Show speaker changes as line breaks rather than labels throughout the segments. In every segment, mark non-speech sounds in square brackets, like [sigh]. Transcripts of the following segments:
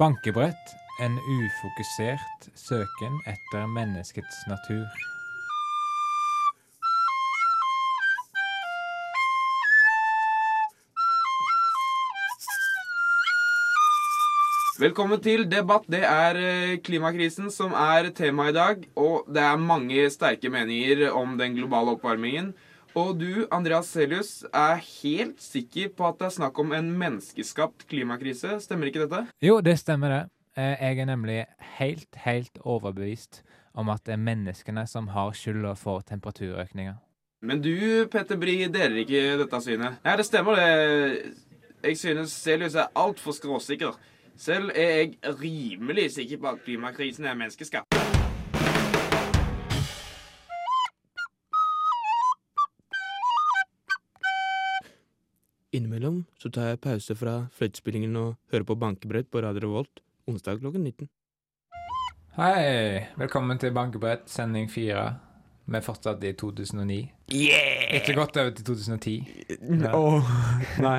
Bankebrett en ufokusert søken etter menneskets natur.
Velkommen til debatt. Det er eh, klimakrisen som er tema i dag. Og det er mange sterke meninger om den globale oppvarmingen. Og du, Andreas Celius, er helt sikker på at det er snakk om en menneskeskapt klimakrise. Stemmer ikke dette?
Jo, det stemmer det. Eh, Jeg er nemlig helt, helt overbevist om at det er menneskene som har skylda for temperaturøkninga.
Men du, Petter Bri, deler ikke dette synet. Nei, det stemmer det. Jeg synes Celius er altfor skråsikker. Selv er jeg rimelig sikker på at klimakrisen er menneskeskapt.
Innimellom så tar jeg pause fra fløytespillingen og hører på bankebrett på Radio Revolt onsdag klokken 19.
Hei! Velkommen til Bankebrett, sending fire. Vi er fortsatt i 2009. Ikke godt over til 2010.
Åh, nei.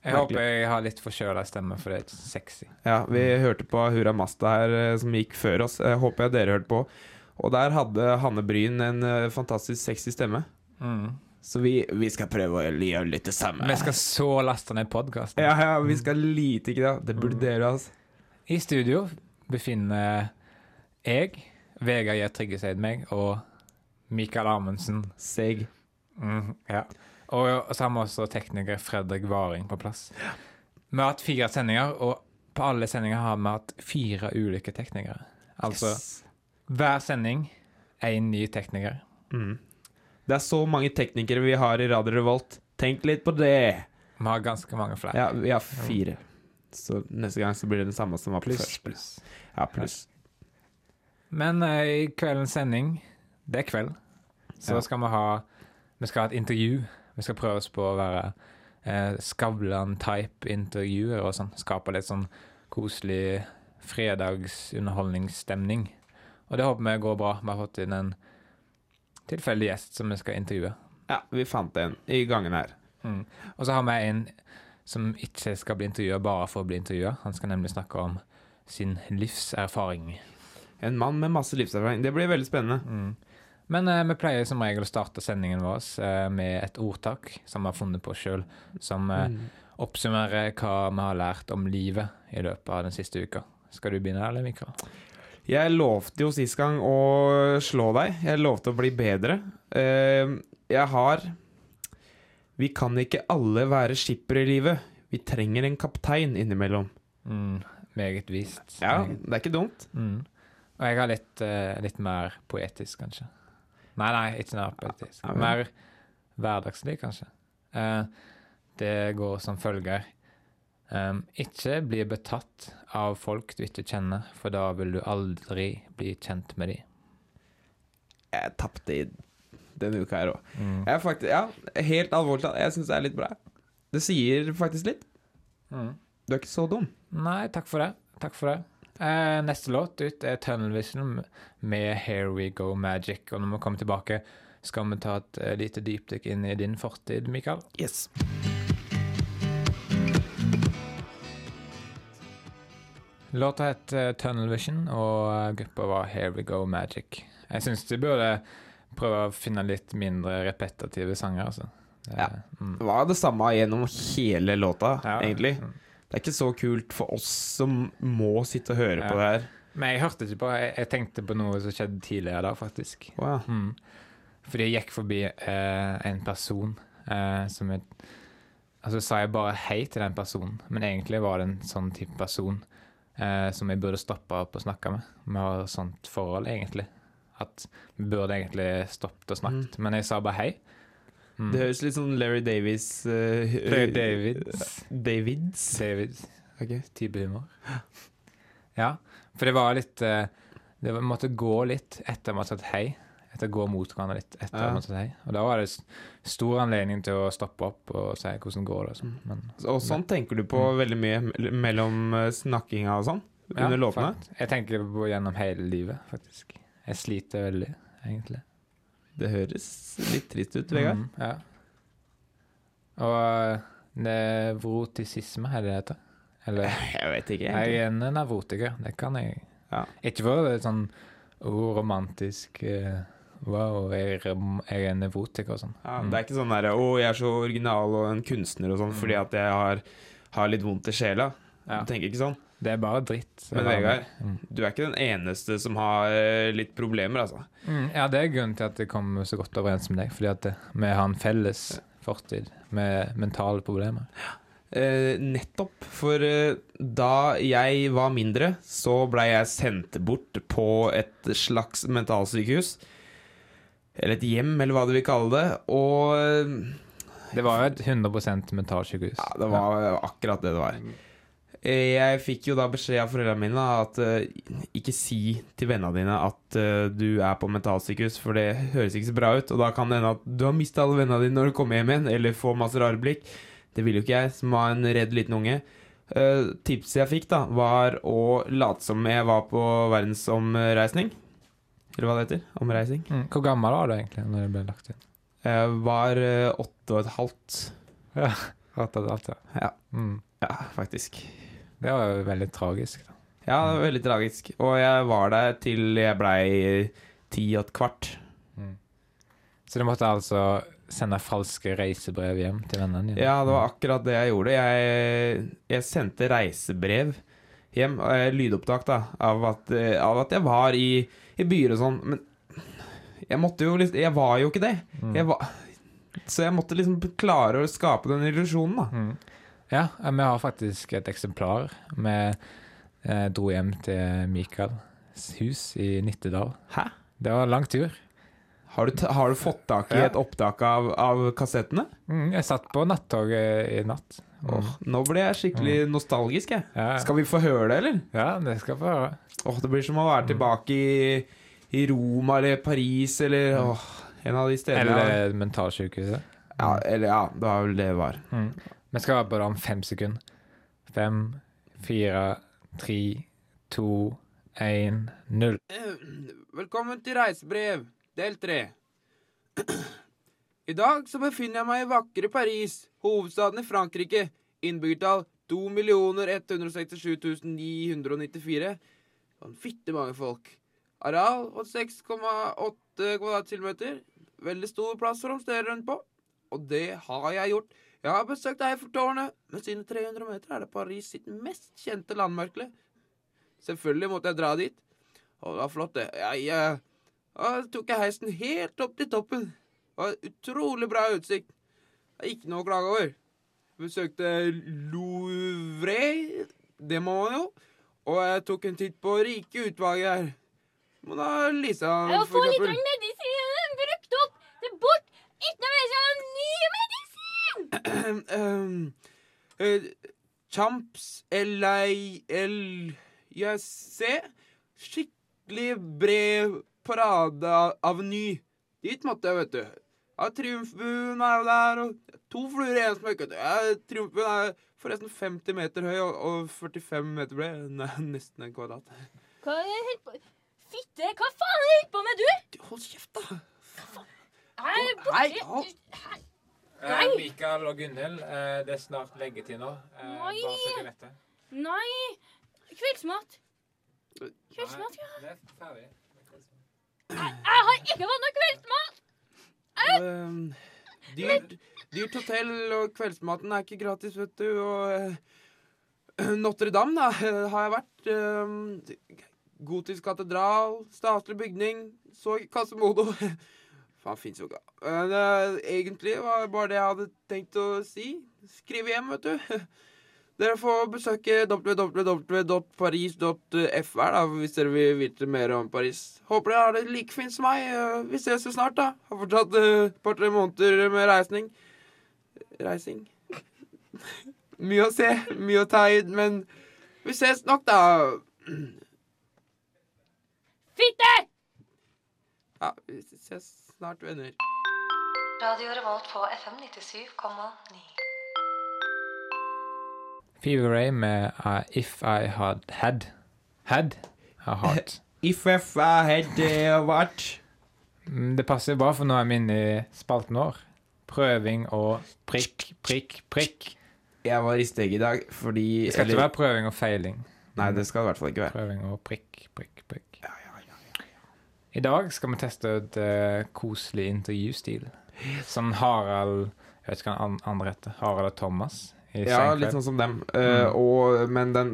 Jeg
Merkelig.
håper jeg har litt forkjøla stemme, for det er ikke sexy.
Ja, vi hørte på Hurra Masta her, eh, som gikk før oss. Jeg håper jeg dere hørte på. Og der hadde Hanne Bryn en eh, fantastisk sexy stemme.
Mm.
Så vi, vi skal prøve å gjøre litt det samme.
Vi skal så laste ned podkasten.
Ja, ja, vi skal lite grann. Det burde dere, altså.
I studio befinner jeg, Vegard Gjert Tryggeseid meg, og Mikael Amundsen.
Seg.
Mhm, ja. Og, og så har vi også tekniker Fredrik Varing på plass. Vi har hatt fire sendinger, og på alle sendinger har vi hatt fire ulike teknikere. Altså
Yes.
hver sending én ny tekniker.
Mm. Det er så mange teknikere vi har i Radio Revolt. Tenk litt på det.
Vi har ganske mange flere.
Ja, vi har fire. Så neste gang så blir det den samme som var på
Pluss,
først.
pluss.
Ja, pluss.
Men eh, i kveldens sending, det er kveld, så
Ja.
skal vi ha Vi skal ha et intervju. Vi skal prøve oss på å være eh, Skavlan-type-intervjuer og sånn. Skape litt sånn koselig fredagsunderholdningsstemning. Og det håper vi går bra. Vi har fått inn en tilfeldig gjest som vi skal intervjue.
Ja, vi fant en i gangen her.
Og så har vi en som ikke skal bli intervjua bare for å bli intervjua. Han skal nemlig snakke om sin livserfaring.
En mann med masse livserfaring. Det blir veldig spennende.
Mm. Men eh, vi pleier som regel å starte sendingen vår eh, med et ordtak som vi har funnet på sjøl, som
Mm.
eh, oppsummerer hva vi har lært om livet i løpet av den siste uka. Skal du begynne, eller Mikael?
Jeg lovte jo sist gang å slå deg. Jeg lovte å bli bedre. Eh, Jeg har Vi kan ikke alle være skippere i livet. Vi trenger en kaptein innimellom.
Mm, meget vist.
Ja, det er ikke dumt.
Mm. Og jeg har litt, eh, litt mer poetisk, kanskje. Nei, nei, ikke mer poetisk.
Ja, ja vel.
Mer hverdagslig, kanskje. Eh, det går som følger. Um, ikke bli betatt av folk du ikke kjenner, for da vil du aldri bli kjent med de.
Jeg tapte i denne uka her òg.
Mm.
Jeg er faktisk, ja, helt alvorlig talt, jeg syns det er litt bra. Det sier faktisk litt.
Mm.
Du er ikke så dum.
Nei, takk for det. Takk for det. Eh, neste låt ut er Tunnel Vision med Here We Go Magic. Og når vi kommer tilbake, skal vi ta et eh, lite dypdykk inn i din fortid, Mikael.
Yes.
Låta het eh, Tunnel Vision, og eh, gruppa var Here We Go Magic. Jeg syns de burde prøve å finne litt mindre repetitive sanger, altså. Det-
Ja.
Mm. Mm.
Det var det samme gjennom hele låta,
Ja.
egentlig. Det er ikke så kult for oss som må sitte og høre
Ja.
på det her.
Men jeg hørte ikke på. Jeg, jeg tenkte på noe som skjedde tidligere da, faktisk.
Wow.
Mm. Fordi jeg gikk forbi eh, en person eh, som jeg Altså sa jeg bare hei til den personen, men egentlig var det en sånn type person eh, som jeg burde stoppe opp og snakke med. Vi har et sånt forhold, egentlig. At vi burde egentlig stoppet og snakket, men jeg sa bare hei. Mm.
Det høres litt sånn Larry Davies eh,
Larry Davids.
Davids?
David
Ok.
type humor. Ja, for det var litt eh, Det var, måtte gå litt etter man satt hei. Etter å gå mot hverandre litt etter
Ja.
man satt hei. Og da var det s- stor anledning til å stoppe opp og si hvordan går det og sånn. Men Mm.
Og sånn tenker du på veldig mye me- mellom eh, snakkinga og sånn? Under
ja,
låtene?
fakt- Jeg tenker på gjennom hele livet, faktisk. Jeg sliter veldig, egentlig.
Det høres litt trist ut, Vegard.
Mm, ja. Og eh, nevrotisisme, er det det heter? Eller
[laughs] Jeg vet ikke.
Jeg er en nervotiker, det kan jeg.
Ja.
Ikke for det er sånn oh, romantisk eh, Wow, jeg er, rom- jeg er nevrotiker og sånn.
Ja, det er ikke sånn der, å, jeg er så original og en kunstner og sånn fordi at jeg har, har litt vondt i sjela.
Mm. Ja.
Du tenker ikke sånn.
Det er bare dritt.
Men Vegard,
Mm.
du er ikke den eneste som har eh, litt problemer, altså.
Mm, ja, det er grunnen til at jeg kom så godt overens med deg. Fordi at eh, vi har en felles fortid med mentale problemer.
Eh, nettopp, for eh, da jeg var mindre, så ble jeg sendt bort på et slags mentalsykehus. Eller et hjem, eller hva du vil kalle det. Og eh,
Det var jo et 100 mentalsykehus.
Ja, det var akkurat det det var. Eh, Jeg fikk jo da beskjed av foreldrene mine at eh, ikke si til vennene dine at eh, du er på mentalsykehus, for det høres ikke så bra ut. Og da kan det hende at du har mista alle vennene dine når du kommer hjem igjen, eller får masse rare blikk. Det ville jo ikke jeg, som var en redd liten unge. Eh, tipset jeg fikk, da, var å late som jeg var på verdensomreisning. Eller hva det heter. Omreising.
Mm. Hvor gammel var du egentlig når det ble lagt inn?
Jeg var eh, åtte og et halvt.
Rett og slett,
Ja.
Mm.
Ja, faktisk.
Det var jo veldig tragisk. Da.
Ja, det var veldig tragisk. Og jeg var der til jeg blei ti og et kvart.
Mm. Så du måtte altså sende falske reisebrev hjem til vennene dine?
Ja, det var akkurat det jeg gjorde. Jeg, jeg sendte reisebrev hjem, eh, lydopptak, da, av at, eh, av at jeg var i, i byer og sånn. Men jeg måtte jo liksom Jeg var jo ikke det.
Mm.
Jeg var, så jeg måtte liksom klare å skape den illusjonen, da.
Mm. Ja, eh, vi har faktisk et eksemplar. Vi eh, dro hjem til Mikaels hus i Nittedal.
Hæ?
Det var en lang tur.
Har du, ta- har du fått tak i
Ja.
et opptak av, av kassettene?
Mm, jeg satt på nattoget i natt. Mm.
Åh, nå ble jeg skikkelig nostalgisk, jeg.
Ja,
Skal vi få høre det, eller?
ja, det skal få høre.
Åh, det blir som å
Mm.
være tilbake i, i Roma eller Paris eller
Mm.
åh, en av de stedene.
eh,
jeg-
Eller mentalsykehuset.
ja, eller ja, det var vel det det var.
Mm. Vi skal være på det om fem sekunder. Fem, fire, tre, to, én, null.
Eh, Velkommen til reisebrev, del tre. [clears throat] I dag så befinner jeg meg i vakre Paris, hovedstaden i Frankrike. Innbyggertall 2.167.994. Vanvittig Sånn mange folk. Areal 86,8 kvadratkilometer. Veldig stor plass for å omstere rundt på. Og det har jeg gjort. Jeg har besøkt Eiffeltårnet, men sine 300 meter er det Paris sitt mest kjente landmerke. Selvfølgelig måtte jeg dra dit. Å, det var flott, det. Jeg, eh, da tok jeg heisen helt opp til toppen. Det var utrolig bra utsikt. Det er ikke noe å klage over. Besøkte Louvre, det må man jo. Og jeg tok en titt på rike utvalget her. Men da Lisa,
Jeg
for
får litt
eksempel.
grann medisin, den er brukt opp. Det er bort. Ikke noe mer, så jeg har ny medisin.
Ehm, eh, Champs L.I. L... Jeg ser skikkelig bred paradeaveny. Dit måtte jeg, vet du. Ja, Triumfbuen er jo der, og to fluer i én smekk. vet du. Ja, Triumfbuen er forresten 50 meter høy og, og 45 meter bred. [laughs] Nei, nesten en kvadrat.
Hva er det jeg holder på Fitte, hva faen er det jeg holder på med, du?
Du, Hold kjeft, da!
Jeg er
Hei,
borte.
hold-
Nei.
Eh, Mikael og Gunhild, eh, det er snart leggetid nå. Eh,
Nei. bare søk i Nei. Kveldsmat. Kveldsmat, ja. Jeg, jeg har ikke fått noe kveldsmat.
Ehm, Dyrt, dyrt hotell, og kveldsmaten er ikke gratis, vet du. Og eh, Notre-Dame, da, eh, har jeg vært. ehm, gotisk katedral, statlig bygning, så Casemodo. Faen, fins jo ikke. Men eh, egentlig var det bare det jeg hadde tenkt å si. Skriv hjem, vet du. Dere får besøke www.paris.fr da, hvis dere vil vite mer om Paris. Håper dere har det like fint som meg. Eh, Vi ses jo snart, da. Har fortsatt eh, et par-tre måneder med reisning. Reising. [laughs] Mye å se, mye å ta inn, men vi ses nok, da.
Fitte!
Ja, vi ses snart, venner.
Radio Revolt på FM 97,9.
Fever Ray med uh, If I Had Had Had a Heart.
If if I had eh, what?
Mm, Det passer bra, for nå er vi inne i spalten vår. Prøving og prikk, prikk, prikk.
Jeg var i steg i dag fordi
Det skal ikke være prøving og feiling.
Nei, det skal det i hvert fall ikke være.
Prøving og prikk, prikk, prikk. I dag skal vi teste ut eh, koselig intervjustil. Sånn Harald Jeg vet ikke hva han an- andre heter. Harald og Thomas i
Ja,
Seinfeld.
litt sånn som dem. Eh, og, men den,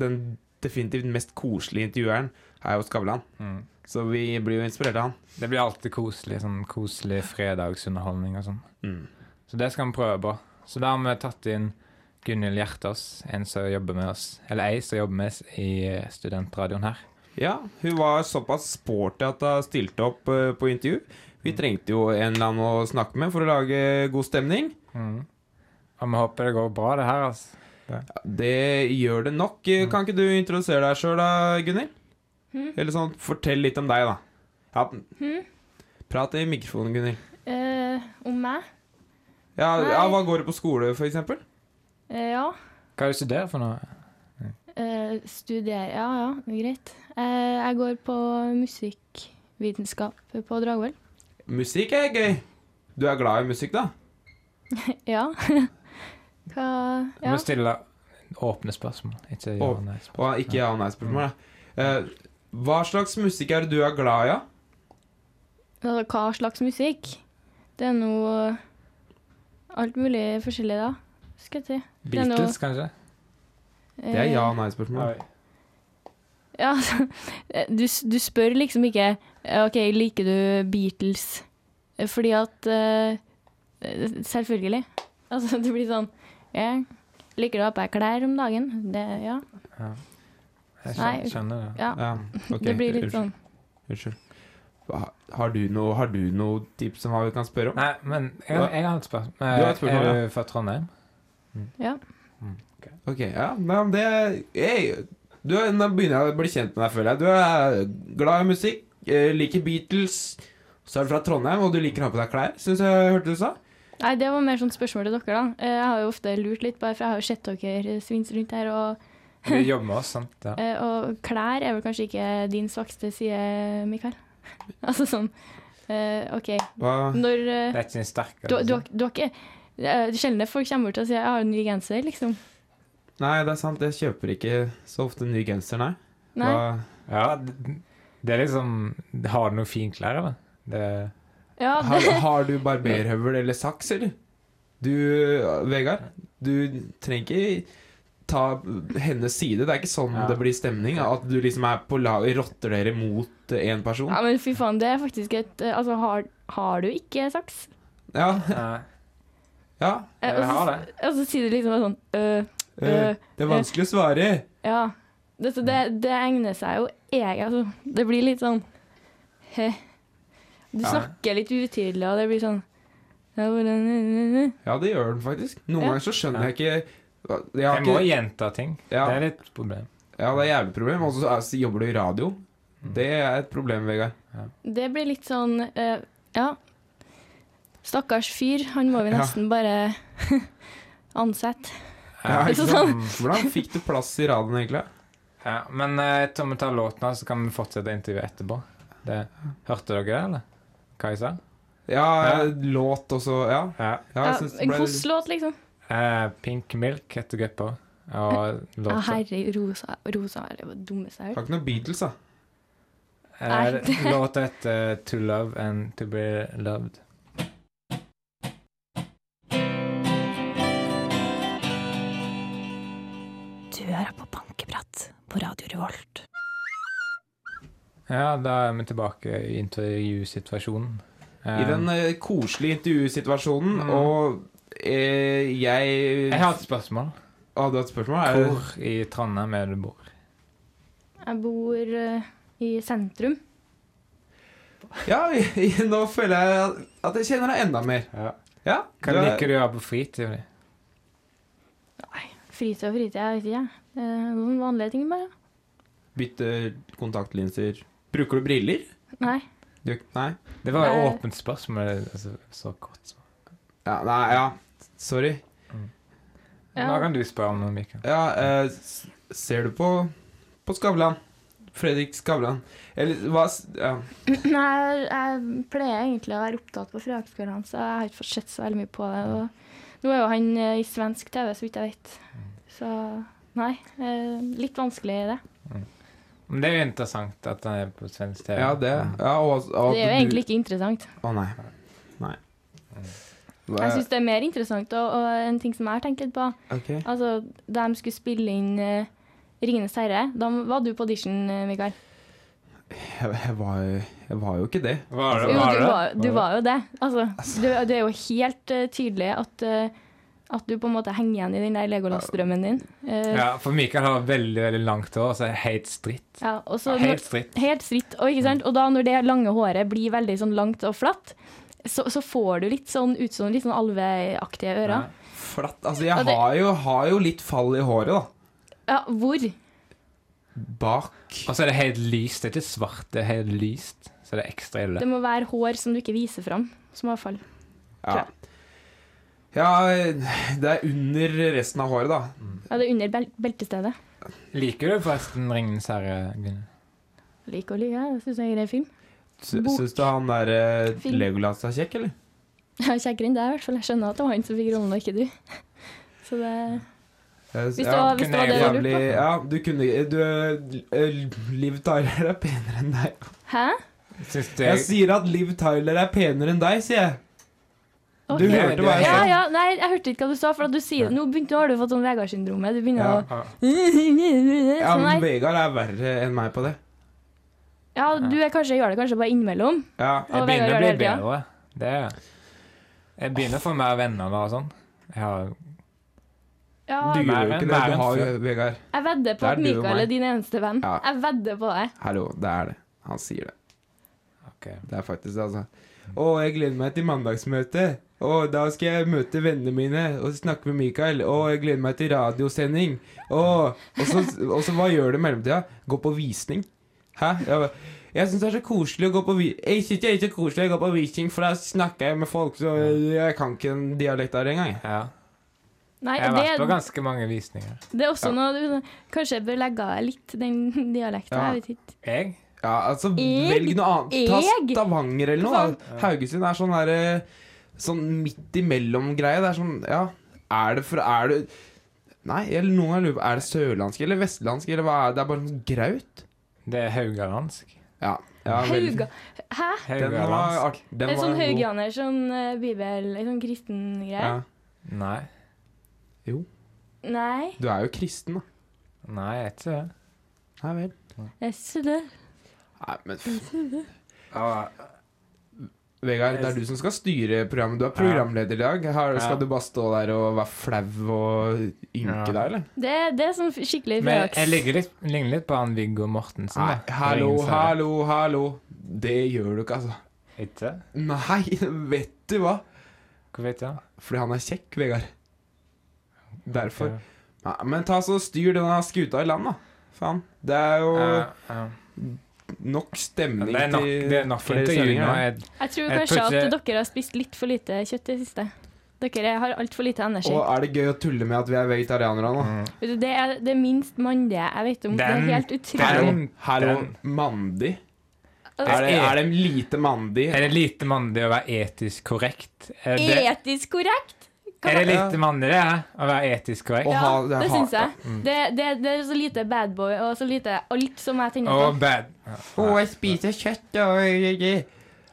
den definitivt mest koselige intervjueren er jo Skavlan.
Mm.
Så vi blir jo inspirert av han.
Det blir alltid koselig. Sånn koselig fredagsunderholdning og sånn.
Mm.
Så det skal vi prøve på. Så da har vi tatt inn Gunhild Hjertås, en som jobber med oss, eller ei som jobber med oss i eh, studentradioen her.
Ja, hun var såpass sporty at hun stilte opp eh, på intervju. Vi trengte jo en eller annen å snakke med for å lage god stemning.
Og vi håper det går bra, det her, altså.
Det gjør det nok. Eh, Kan ikke du introdusere deg sjøl da, Gunhild? Eller sånn, fortell litt om deg, da. Ja. Prat i mikrofonen, Gunhild.
Eh, om meg?
Ja,
Nei.
ja, hva går du på skole, for eksempel?
Eh, ja.
Hva er det du studerer for noe?
Eh, studerer Ja, ja, det er greit. Eh, jeg går på musikkvitenskap på Dragvoll.
Musikk er gøy. Du er glad i musikk, da?
Ja. [laughs] Hva
Du
Ja.
må stille åpne spørsmål. Ikke ja
Åp-
og nei-spørsmål.
Og ikke ja- og nei-spørsmål, da. Eh, Hva slags musikk er det du er glad i, da?
Altså, hva slags musikk? Det er noe alt mulig forskjellig, da. Skal jeg si. Det er noe-
Beatles, kanskje?
Det er ja- og
Eh,
nei-spørsmål.
[laughs] Ja, altså, du, s- du spør liksom ikke eh, OK, liker du Beatles? Eh, Fordi at eh, eh, Selvfølgelig. Altså, [laughs] det blir sånn Jeg liker å ha på meg klær om dagen. Det, ja.
Jeg
Nei.
skjønner, skjønner det.
ja.
Ja, ok.
[laughs] det blir litt
Unnskyld.
sånn.
Unnskyld. Hva- Har du noe, har du noe tips om hva vi kan spørre om?
Nei, men jeg, jeg har et spørsmål. Eh,
har et spørsmål,
er du fra Trondheim?
Ok, ja, nei, men det hey, du, er- Nå begynner jeg å bli kjent med deg, føler jeg. Du er glad i musikk, eh, liker Beatles, så er du fra Trondheim, og du liker å ha på deg klær, syns jeg hørte du sa.
Nei, det var mer sånn spørsmål til dere, da. Eh, Jeg har jo ofte lurt litt, bare for jeg har jo sett dere svinse rundt her, og,
Du jobber med oss, sant? Ja.
eh, og klær er vel kanskje ikke din svakeste side, Mikael? [laughs] Altså sånn eh, OK,
Hva?
når eh,
Det er ikke din sterke.
Du, du, har- du har ikke det er Sjelden det folk kommer bort og sier 'jeg har en ny genser', liksom.
Nei, det er sant, jeg kjøper ikke så ofte ny genser, nei.
Nei.
Hva-
Ja, det, det er liksom Har du noen finklær, eller? Det,
Ja,
Har,
det,
har du barberhøvel eller saks, eller? Du, Vegard, du trenger ikke ta hennes side. Det er ikke sånn
Ja.
det blir stemning. At du liksom er på lag rotter dere mot én person.
ja, men fy faen, det er faktisk et eh, Altså, har, har du ikke saks?
Ja.
nei,
ja.
Eh,
jeg har
og,
det.
så, og så sier du liksom bare sånn øh,
Eh,
øh,
Det er vanskelig å svare.
Ja. Det, så det, det egner seg jo jeg, altså. Det blir litt sånn he. Du
Ja.
snakker litt utydelig, og det blir sånn ja, hvordan-
Ja, det gjør den faktisk. Noen
Ja.
ganger så skjønner jeg ikke jeg har
Jeg må
ikke,
gjenta ting.
Ja.
Det er litt problem.
ja, det er jævlig problem. Og så er- jobber du i radio.
Mm.
Det er et problem, Vegard.
Det blir litt sånn eh, Ja. Stakkars fyr, han må vi
Ja.
nesten bare [laughs] ansette.
Ja,
Ja,
ikke sant?
sånn-
Hvordan fikk du plass i radioen, egentlig?
ja, men eh, jeg tror vi tar låten, så kan vi fortsette intervjuet etterpå. Det, hørte dere det, eller? Hva jeg sa?
Ja,
Ja.
låt også. Ja,
Ja.
ja
Ja,
jeg synes det
en
ble
kostlåt, liksom.
Eh, Pink Milk heter gruppa. Og
Ja,
låta
herre rosa, rosa er det dummeste jeg har hørt.
Har ikke noe Beatles, da.
eh,
Nei, det-
[laughs] Låta heter To Love and To Be Loved.
Du hører på Bankeprat på Radio Revolt.
Ja, da er vi tilbake i intervjusituasjonen. Eh,
I den eh, koselige intervjusituasjonen,
Mm.
og eh, jeg
jeg har et spørsmål.
Hadde du et spørsmål? Er det-
Hvor i Trondheim er det du bor?
Jeg bor eh, i sentrum.
[laughs] Ja, nå føler jeg at- at jeg kjenner deg enda mer.
Ja.
Ja,
Hva
du er-
liker du å gjøre på fritida di?
Fritid og fritid, jeg vet ikke, jeg. Eh, Noen vanlige ting, bare.
Bytte kontaktlinser. Bruker du briller?
Nei. [clears throat]
Du, nei.
Det var et
Eh.
åpent spørsmål. Altså, så kort. svar.
Ja, nei, ja. Sorry.
Ja.
Nå kan du spørre om noe, Mikael.
Ja, eh, s- ser du på På Skavlan? Fredrik Skavlan. Eller hva s- ja.
Nei, jeg, jeg pleier egentlig å være opptatt på fredagskveldene, så jeg har ikke fått sett så veldig mye på det. Og Nå er jo han eh, i svensk TV, så vidt jeg vet. Så nei, eh, litt vanskelig det.
Men det er jo interessant at han er på svensk TV. Mm.
Ja, det. Ja, og, og,
Det er jo egentlig ikke interessant.
Å nei. Nei. Mm.
Jeg syns det er mer interessant og, og en ting som jeg har tenkt litt på.
Ok.
Altså, da de skulle spille inn eh, 'Ringenes herre', da var du på audition, eh, Mikael.
Jeg, jeg, var, jo- jeg var jo ikke det.
Var det,
Jo,
var
du
det?
var, du var jo det. Altså, du, det er jo helt eh, tydelig at, eh, at du på en måte henger igjen i den der Legolas-drømmen din. Eh,
Ja, for Mikael har veldig veldig langt hår, så er det helt stritt.
ja, og så når,
Helt stritt.
helt stritt. Og, ikke sant? og da når det lange håret blir veldig sånn langt og flatt, så, så får du litt sånn ut som litt sånn alveaktige ører.
Flatt. Altså, jeg
Ja, det-
har, jo, har jo litt fall i håret, da.
Ja, hvor?
Bak.
Og så er det helt lyst. Det er ikke svart, det er helt lyst. Så det er ekstra ille.
Det må være hår som du ikke viser fram, som avfall.
Ja. ja, det er under resten av håret, da.
Ja, det er under bel beltestedet.
Liker du forresten 'Ringenes herre'? Gunnar?
Like og like, jeg syns det er en grei film. [laughs]
Sy-
Bok.
Syns du han der eh,
Fin.
Legolas er kjekk, eller?
Kjekkere enn deg, i hvert fall. Jeg skjønner at det var han som fikk rollen, og ikke du. [laughs] Så det
Jeg-
Hvis det var, hvis det, var det du
Eh, jævlig,
lurte på.
ja, du kunne du, eh, Liv Tyler er penere enn deg.
Hæ?
Syns du
Jeg sier at Liv Tyler er penere enn deg, sier jeg.
Ok.
Du hørte hva jeg
Ja,
sa.
ja, nei, jeg hørte ikke hva du sa, for at du sier Nå begynte, nå har du fått sånn Vegard-syndromet. Du begynner
Ja.
å ja, [laughs]
Ja, men
nei.
Vegard er verre enn meg på det.
ja, du er kanskje, gjør det kanskje bare innimellom.
Ja,
Jeg
Og
begynner å
Vegard
bli
gjør det hele
bedre. Det er Jeg begynner å få mer venner nå og sånn. Jeg har
Ja,
Du
Nei,
gjør jo ikke det.
nei,
Du har jo
nei.
Vegard.
jeg vedder på
Det er
at
du og
Mikael
meg.
er din eneste venn.
Ja.
Jeg vedder på det.
Hallo, det er det. Han sier det.
ok.
Det er faktisk det, altså. Å, jeg gleder meg til mandagsmøtet. Å, da skal jeg møte vennene mine og snakke med Mikael. Å, jeg gleder meg til radiosending. Å, og så, og så hva gjør du i mellomtida? Gå på visning. Hæ? Jeg, jeg syns det er så koselig å gå på visning. Jeg synes det er ikke koselig å gå på visning, for da snakker jeg med folk, så jeg kan ikke den dialekta her engang.
Ja.
Nei,
Jeg har vært på
det,
ganske mange visninger.
det er også noe du, Kanskje jeg bør legge av litt den [laughs] dialekten.
Ja.
Jeg vet ikke.
Jeg?
Ja, altså,
Jeg-
velg noe annet. Ta
jeg-
Stavanger eller noe. da. Haugesund er sånn derre Sånn midt imellom-greie. Det er sånn Ja, er det for Er det Nei, eller noen ganger lurer jeg på, Er det sørlandsk eller vestlandsk, eller hva er det? Det er bare sånn graut.
Det er haugalandsk.
Ja. ja vel.
Hauga. Hæ?
Den var
Haugalandsk?
art- den
En
var
sånn
god.
haugianer, sånn eh, bibel, en sånn kristen greie?
Ja.
Nei.
Nei.
Du er jo kristen, da.
Nei, jeg er ikke det.
Nei vel.
Jeg synes det.
Nei, men f- Vegard, det er du som skal styre programmet. Du er programleder i dag. Har,
Ja.
skal du bare stå der og være flau og
Ja.
ynke deg, eller?
Det, det er sånn skikkelig
Men
flaks.
jeg ligger litt, ligner litt på han Viggo Mortensen.
Nei,
da.
hallo,
Ingen ser det.
hallo, hallo. Det gjør du ikke, altså.
Ikke?
Nei, [laughs] vet du hva?
Hvor vet jeg?
Fordi han er kjekk, Vegard. Derfor.
Ok.
Nei, men ta så styr denne skuta i land, da. Faen. Det er jo
Ja, ja.
nok stemning
Eh, Det er nok,
til
det er nok
flere
intervju nå.
sendinger, ja.
Jeg,
Jeg tror
Jeg
kanskje
plutselig-
at dere har spist litt for lite kjøtt i det siste. Dere har altfor lite energi.
Og er det gøy å tulle med at vi er vegetarianere nå?
mm.
Vet du, Det er det minst mandige jeg vet
Den-
om. det er helt
Hallo,
utrolig.
Den-
hallo,
den-
mandig?
Altså,
Er det, er det lite mandig?
Er det lite mandig å være etisk korrekt? Er det,
etisk korrekt? Hva-
er det lite mandig det, hæ? å være etisk korrekt?
Å
ja,
ha-
det
ha-
syns jeg. Det, det, det er så lite bad boy og så lite alt som jeg tenker
Og
på.
bad.
Å, jeg spiser kjøtt og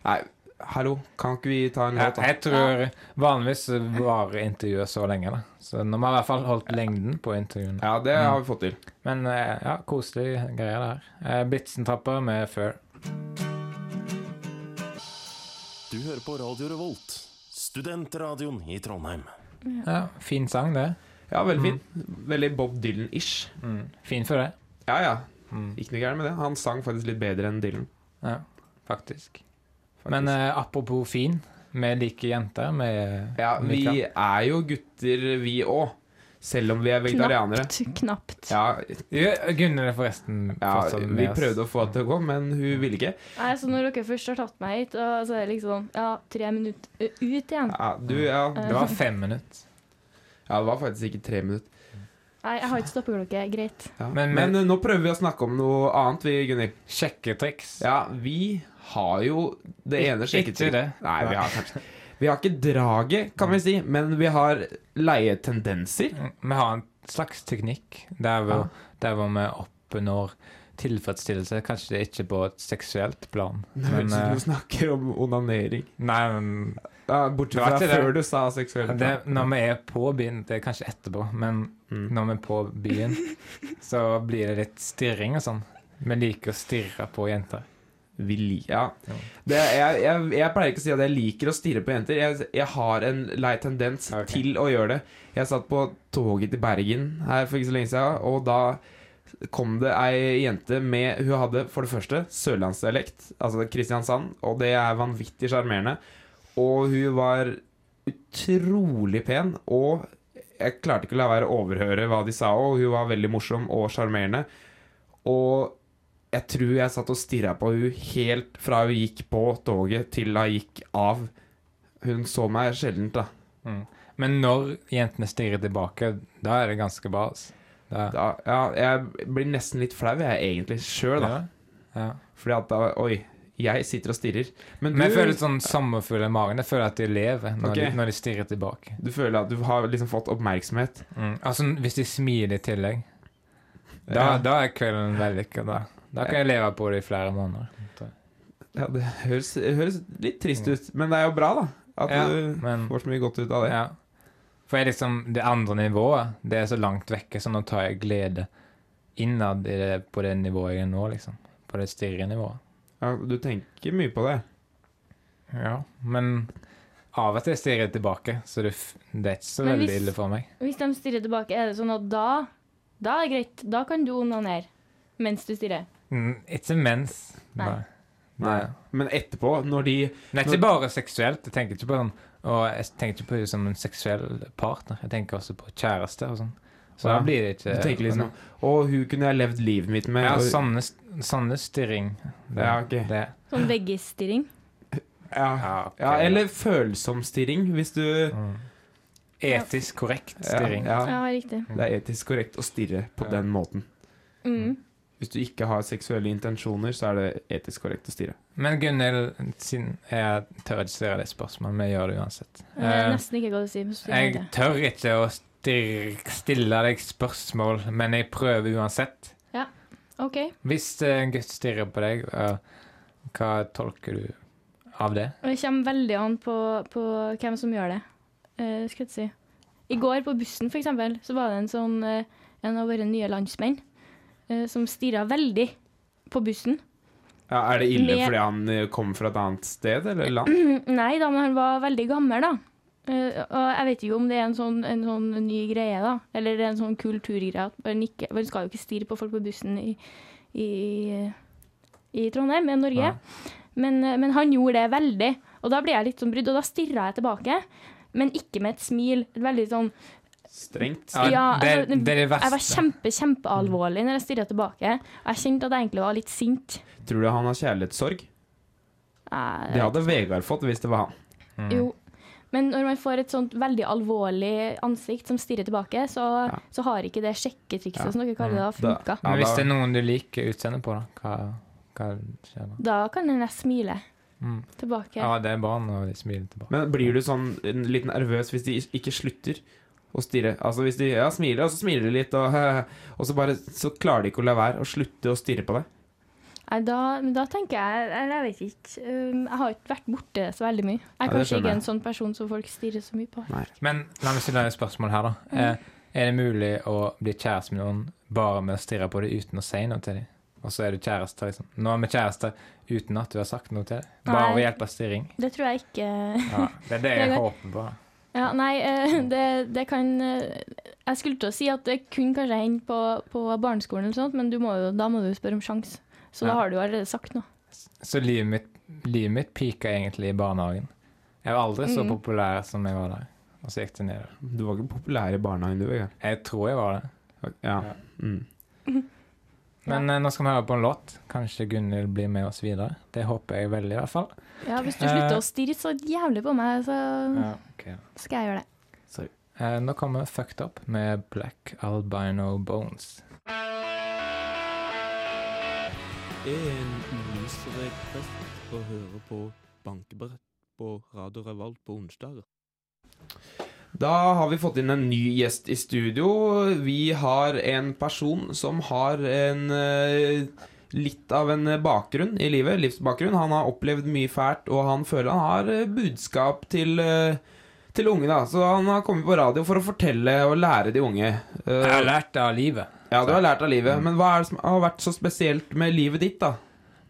Nei, hallo, kan ikke vi ta en
Jeg,
låt, da?
jeg tror vanligvis så varer intervjuet så lenge, da. Så nå må jeg i hvert fall holdt lengden på intervjuene.
Ja, det har vi fått til.
Men eh, ja, koselig greie det her. Eh, Blitzentrapper med Før.
Du hører på Radio Revolt, studentradioen i Trondheim.
Ja, fin sang, det.
Ja, veldig fin. Veldig Bob Dylan-ish.
Mm. Fin for det.
Ja, ja.
Mm.
Ikke noe gærent med det. Han sang faktisk litt bedre enn Dylan.
Ja, faktisk.
faktisk.
Men eh, apropos fin, vi liker jenter. Vi,
ja, vi
Mikael.
er jo gutter, vi òg. Selv om vi er vegetarianere.
Knapt. Knapt.
Ja,
Ja, Gunnhild er forresten
ja,
fortsatt med
vi
oss.
prøvde å få henne til å gå, men
Mm.
hun ville ikke.
Nei, så når dere først har tatt meg hit, og så er det liksom ja, tre minutter ø, ut igjen
Ja, du, ja. ja,
Det var fem minutter.
det var faktisk ikke tre minutter.
Nei, jeg har ikke stoppeklokke. Greit.
Ja.
Men-
Men,
men-
eh, nå prøver vi å snakke om noe annet, vi, Gunhild.
Sjekketriks.
Ja, vi har jo det ene
Ikke
sjekket
det. Mm.
Nei, vi har kanskje Vi har ikke draget, kan vi si, men vi har leietendenser.
Vi har en slags teknikk der hvor, der hvor vi oppnår tilfredsstillelse. Kanskje det er ikke på et seksuelt plan,
Det
men
høres ut som
eh,
du snakker om onanering.
Nei, men
Ja, bortsett
Det var
fra
ikke det.
før du sa seksuelt.
det, når vi er på byen Det er kanskje etterpå, men
Mm.
når vi er på
[laughs]
byen, så blir det litt stirring og sånn. Vi liker å stirre på jenter.
Vi li- ja.
Ja.
det, jeg, jeg, jeg pleier ikke å si at jeg liker å stirre på jenter. Jeg, jeg har en lei tendens
Ok.
til å gjøre det. Jeg satt på toget til Bergen her for ikke så lenge siden, og da kom det ei jente med Hun hadde for det første sørlandsdialekt, altså Kristiansand, og det er vanvittig sjarmerende. Og hun var utrolig pen, og jeg klarte ikke å la være å overhøre hva de sa, og hun var veldig morsom og sjarmerende. Og jeg tror jeg satt og stirra på hun helt fra hun gikk på toget til hun gikk av. Hun så meg sjelden, da.
Men når jentene stirrer tilbake, da er det ganske bra. Altså. Da,
da ja, jeg blir nesten litt flau, jeg, egentlig, sjøl, da.
Ja. Ja.
Fordi at da Oi, jeg sitter og stirrer. Men du,
Men jeg føler sånn sommerfugl i magen. Jeg føler at de lever når,
Ok.
de, når de stirrer tilbake.
du føler at du har liksom fått oppmerksomhet.
Mm. Altså, hvis de smiler i tillegg, da,
Ja.
da er kvelden vellykka. Da. da kan jeg leve på det i flere måneder.
Ja, det høres, høres litt trist ut, men det er jo bra, da. At
Ja,
du
men-
får så mye godt ut av det.
Ja. For jeg liksom, det andre nivået, det er så langt vekke, så nå tar jeg glede innad i det, på det nivået jeg er nå, liksom. På det stirrenivået.
Ja, du tenker mye på det.
Ja. Men av og til stirrer jeg tilbake, så det, f- det er ikke så
Men
veldig
hvis-
ille for meg.
Hvis de stirrer tilbake, er det sånn at da Da er det greit. Da kan du onanere mens du stirrer.
Mm, Ikke mens.
Nei.
Nei.
Nei. Men etterpå, når de
Men ikke bare seksuelt. Jeg tenker ikke på den, og jeg tenker ikke på det som en seksuell partner. Jeg tenker også på kjæreste og sånn. Så
Ja.
da blir det
Du
ikke
tenker liksom Å, hun kunne jeg levd livet mitt med.
Ja,
og-
sanne, sanne stirring. Det,
Ja, ok.
det.
Sånn veggestirring.
ja.
Ja, ok.
Ja, eller følsom stirring, hvis du
Mm. Etisk korrekt stirring.
Ja, ja.
Ja, riktig.
Det er etisk korrekt å stirre på
Ja.
den måten.
Mm.
Hvis du ikke har seksuelle intensjoner, så er det etisk korrekt å stirre.
Men Gunhild, siden jeg tør ikke stille deg spørsmål, men jeg gjør det uansett.
Det er
Eh,
nesten ikke godt å si. men så sier jeg
Jeg
det.
tør ikke å stir- stille deg spørsmål, men jeg prøver uansett.
OK.
Hvis eh, en gutt stirrer på deg, eh, hva tolker du av det?
Det kommer veldig an på, på hvem som gjør det. Eh, skal jeg si. I går på bussen, for eksempel, så var det en, sånn, eh, en av våre nye landsmenn eh, som stirra veldig på bussen.
Ja, er det ille
Med-
fordi han eh, kommer fra et annet sted eller land?
Nei da, men han var veldig gammel, da. Eh, og jeg vet ikke om det er en sånn, en sånn ny greie, da. Eller en sånn kulturgreie. at Man, ikke, man skal jo ikke stirre på folk på bussen i, i, i Trondheim, i Norge.
Ja.
Men, eh, men han gjorde det veldig. Og da ble jeg litt sånn brydd, og da stirra jeg tilbake. Men ikke med et smil. Et Veldig sånn
Strengt.
Ja, det- det er det verste.
Jeg var kjempe, kjempealvorlig når jeg stirra tilbake. Jeg kjente at jeg egentlig var litt sint.
Tror du han har kjærlighetssorg?
Jeg-
Det hadde Vegard fått hvis det var han.
Jo, men når man får et sånt veldig alvorlig ansikt som stirrer tilbake, så,
Ja. Mm.
så har ikke det sjekketrikset som dere
Da-
kaller det, da, funka. Da.
Men
Ja,
hvis
da-
det er noen du liker utseendet på, da, hva, hva skjer da?
kan en nesten smile
Mm.
tilbake.
Ja, det er bra når de smiler tilbake.
Men blir du sånn en litt nervøs hvis de ikke slutter å stirre? Altså hvis de ja, smiler, og så smiler de litt, og, [laughs] og så bare så klarer de ikke å la være å slutte å stirre på deg.
Nei, da, men da tenker jeg Eller jeg vet ikke. Um, jeg har ikke vært borte så veldig mye. Jeg
Ja,
er
det
kanskje
skjønner
ikke
jeg.
en sånn person som folk stirrer så mye på.
Men la meg stille deg et spørsmål her,
Mm.
da. Eh, er det mulig å bli kjæreste med noen bare med å stirre på dem uten å si noe til dem? Og så er du kjæreste, liksom. Nå er vi kjærester uten at du har sagt noe til dem. Bare
Nei.
ved hjelp av stirring.
Det tror jeg ikke [laughs]
Ja, det er det
Det
jeg
er
håper på.
Ja, nei, eh,
Mm.
det, det kan eh, Jeg skulle til å si at det kunne kanskje hende på, på barneskolen, eller sånt, men du må jo, da må du jo spørre om sjans.
Ja.
Så da har du jo allerede sagt noe.
Så livet mitt, livet mitt pika egentlig i barnehagen. Jeg var aldri så
Mm.
populær som jeg var der. Og så gikk det nedover.
Du var ikke populær i barnehagen, du, Vegard.
Jeg tror jeg var det.
Ja.
Ja.
Mm.
Men eh, nå skal vi høre på en låt. Kanskje Gunhild blir med oss videre. Det håper jeg veldig, i hvert fall.
Ja, hvis du
Eh.
slutter å stirre så jævlig på meg, så skal jeg gjøre det.
Eh, nå kommer Fucked Up med Black Albino Bones.
En ulystrekt fest å høre på bankebrett på Radio Revolt på onsdager.
Da har vi fått inn en ny gjest i studio. Vi har en person som har en eh, litt av en bakgrunn i livet, livsbakgrunn. Han har opplevd mye fælt, og han føler han har eh, budskap til, eh, til unge. da. Så han har kommet på radio for å fortelle og lære de unge. Eh,
Jeg har lært Mm. av livet.
ja, du har lært av livet, men hva er det som har vært så spesielt med livet ditt, da?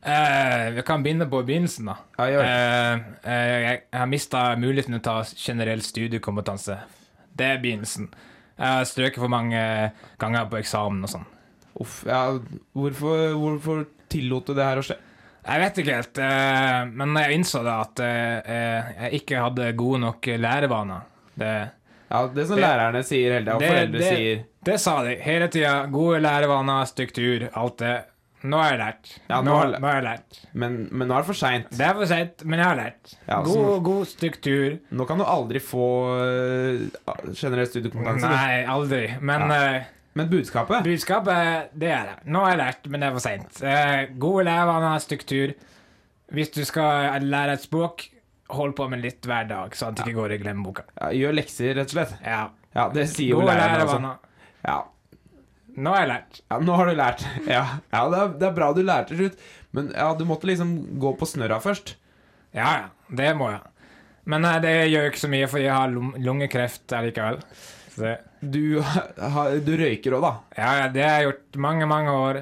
Eh, vi kan begynne på begynnelsen, da.
Ja, gjør det.
Eh, eh, jeg jeg har mista muligheten til å ta generell studiekompetanse. Det er begynnelsen. Jeg har strøket for mange ganger på eksamen og sånn.
Uff, ja, hvorfor, hvorfor tillot du det her å skje?
Jeg vet ikke helt, eh, men jeg innså da at eh, eh, jeg ikke hadde gode nok lærevaner. Det,
Ja, Det som
Det-
lærerne sier hele tida, og
det-
foreldre
det-
sier
det sa de hele tida. Gode lærevaner, struktur, alt det. Nå har jeg lært.
Ja, nå
nå,
har jeg lært.
nå har jeg lært.
Men, men nå er det for seint.
Det er for seint, men jeg har lært.
Ja, altså.
god,
så-
god struktur.
Nå kan du aldri få øh, generell studiekompetanse. du.
Nei, aldri. Men eh,
Men budskapet
Budskapet, det er det. Nå har jeg lært, men det er for seint. Eh, gode lærere, struktur. Hvis du skal lære et språk, hold på med litt hver dag, sånn at det ikke går i glemmeboka.
ja, Gjør lekser, rett og slett.
Ja.
Ja, det sier jo
Gode
læreren.
lærere.
Altså. Ja.
Nå har jeg lært.
ja, nå har du lært. [laughs] Ja, ja det, er, det er bra du lærte til slutt, men ja, du måtte liksom gå på snørra først.
Ja, ja. Det må jeg. Men eh, det gjør jo ikke så mye, for jeg har lung- lungekreft allikevel. Så, det-
Du, [laughs] har- du røyker òg, da.
ja, ja, det har jeg gjort mange, mange år.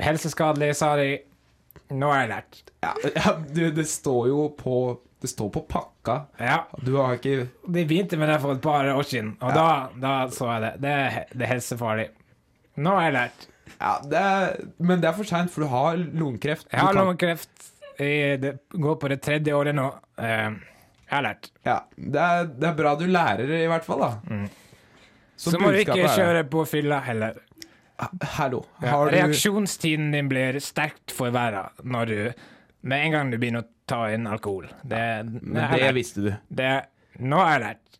Helseskadelig, sa de. Nå har jeg lært.
Ja, [laughs] ja, du, det står jo på Det står på pakka.
Ja.
Du har ikke
De begynte med det for et par år siden, og da, da så jeg det. Det er, he- det er helsefarlig. Nå har jeg lært.
Ja, det er, men det er for seint, for du har lungekreft.
Jeg har
Du kan-
lungekreft. i- Det går på det tredje året nå. Eh, Jeg har lært.
Ja, det, er, det er bra du lærer, i hvert fall, da.
Mm. Så, må du
budskapet
ikke
er-
kjøre på fylla heller.
Hallo.
Ja.
Har du
Reaksjonstiden din blir sterkt forverra når du Med en gang du begynner å ta inn alkohol. Det, det,
Men
har
det
jeg lært.
visste du.
det Nå har jeg lært.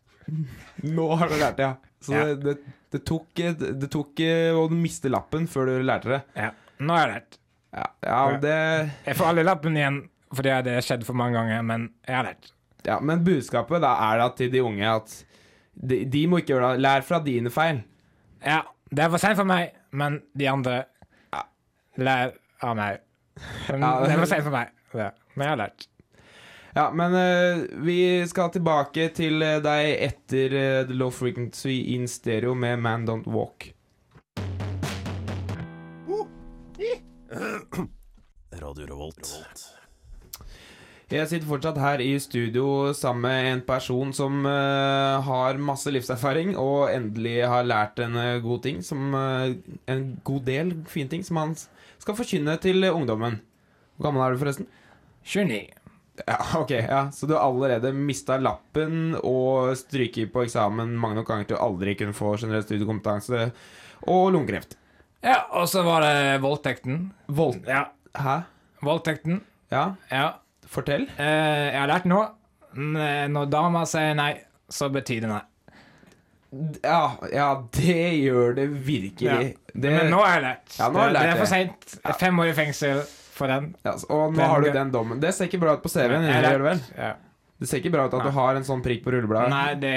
Nå har du lært det, ja. Så
Ja.
Det, det, det tok det, det tok eh, å miste lappen før du lærte det.
Ja. Nå har jeg lært.
Ja, ja det
Jeg får aldri lappen igjen, for det har skjedd for mange ganger, men jeg har lært.
Ja, men budskapet da er da til de unge at de, de må ikke gjøre det. Lær fra dine feil.
Ja, det er for sent for meg, men de andre lær av meg. Men
Ja.
Det er for sent for meg. Ja. Men jeg har lært.
Ja, men eh, vi skal tilbake til eh, deg etter eh, The Low Frequency in Stereo med Man Don't Walk.
Radio Revolt.
Jeg sitter fortsatt her i studio sammen med en person som eh, har masse livserfaring, og endelig har lært en eh, god ting, som, eh, en god del fine ting, som han s- skal forkynne til eh, ungdommen. Hvor gammel er du forresten?
29.
Ja, [laughs] ok, ja. Så du har allerede mista lappen og stryker på eksamen mange nok ganger til å aldri kunne få generell studiekompetanse og lungekreft.
Ja, og så var det voldtekten.
Vold...
Ja,
Hæ?
voldtekten.
Ja,
Ja.
fortell.
Eh, jeg har lært noe. Men eh, Når dama sier nei, så betyr det nei.
D- Ja, ja det gjør det virkelig. Det,
Men nå har jeg lært.
Ja, nå har jeg
det,
lært
det er for
det.
seint. Fem år i fengsel for den.
Ja, så- og nå
Den-
har du den dommen. Det ser ikke bra ut på CV-en.
Jeg har
gjør Det vel?
lært. Ja.
Det ser ikke bra ut at du har en sånn prikk på rullebladet.
Nei, det,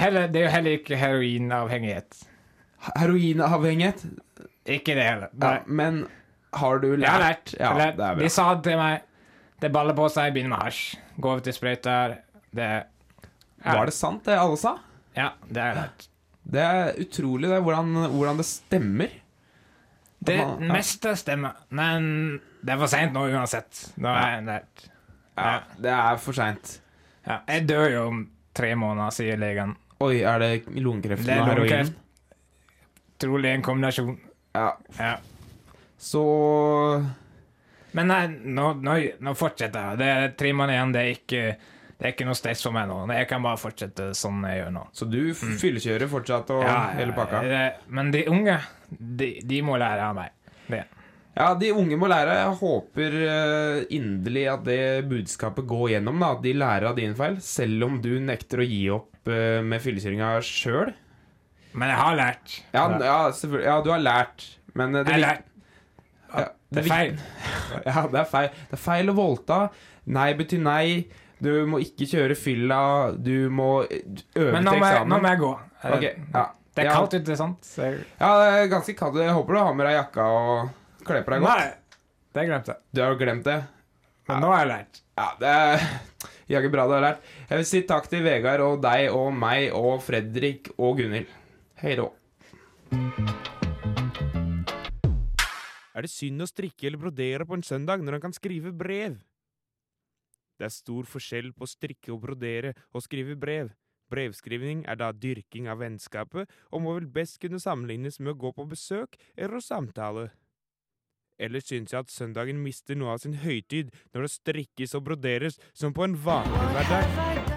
heller, det er jo heller ikke heroinavhengighet.
Heroinavhengighet?
Ikke det heller. Nei.
Ja, men har du lært?
Jeg har lært.
Ja,
Jeg har lært.
det er bra.
De sa til meg Det baller på seg, begynner med hasj. Gå over til sprøyter. Det
Var det sant, det alle sa?
Ja, det har jeg lært.
Det er utrolig det, hvordan, hvordan det stemmer.
Det
Ja.
meste stemmer, men det er for seint nå uansett. Nå er jeg lært. Ja.
Ja, det er for seint.
Ja. Jeg dør jo om tre måneder, sier legen.
Oi, er det lungekreft
Det er
og heroin?
lungekreft. Trolig en kombinasjon.
Ja.
Ja.
Så
Men nei, nå, nå, nå fortsetter jeg. Det er tre måneder igjen. Det er ikke, det er ikke noe stress for meg nå. Jeg kan bare fortsette sånn jeg gjør nå.
Så du f-
Mm.
fyllekjører fortsatt og hele pakka?
Det, men de unge, de, de må lære av meg.
Ja, de unge må lære. Jeg håper eh, inderlig at det budskapet går gjennom. da, At de lærer av din feil, selv om du nekter å gi opp eh, med fyllekjøringa sjøl.
Men jeg har lært.
Ja, n- ja, selvfølgelig- ja, du har lært, men eh, det,
Jeg har lært.
Ja,
Det er
vik- [laughs]
feil.
Ja, det er feil. Det er feil å voldta. Nei betyr nei. Du må ikke kjøre fylla. Du må eh, øve til
Men nå må, jeg, nå
eksamen.
må jeg gå. Er det-
Ok, ja.
Det er
Ja.
kaldt ute, sant? Så jeg,
ja, det er ganske kaldt. Jeg håper du har med deg jakka og kler på deg godt.
Nei, det glemte jeg.
Du har jo glemt det.
Men nå har jeg lært.
Ja, det er [laughs] jaggu bra du har lært. Jeg vil si takk til Vegard og deg og meg og Fredrik og Gunhild. Hei rå. Er det synd å strikke eller brodere på en søndag når han kan skrive brev? Det er stor forskjell på å strikke og brodere og skrive brev. Brevskrivning er da dyrking av vennskapet, og må vel best kunne sammenlignes med å gå på besøk eller å samtale. Ellers syns jeg at søndagen mister noe av sin høytid når det strikkes og broderes som på en vanlig hverdag.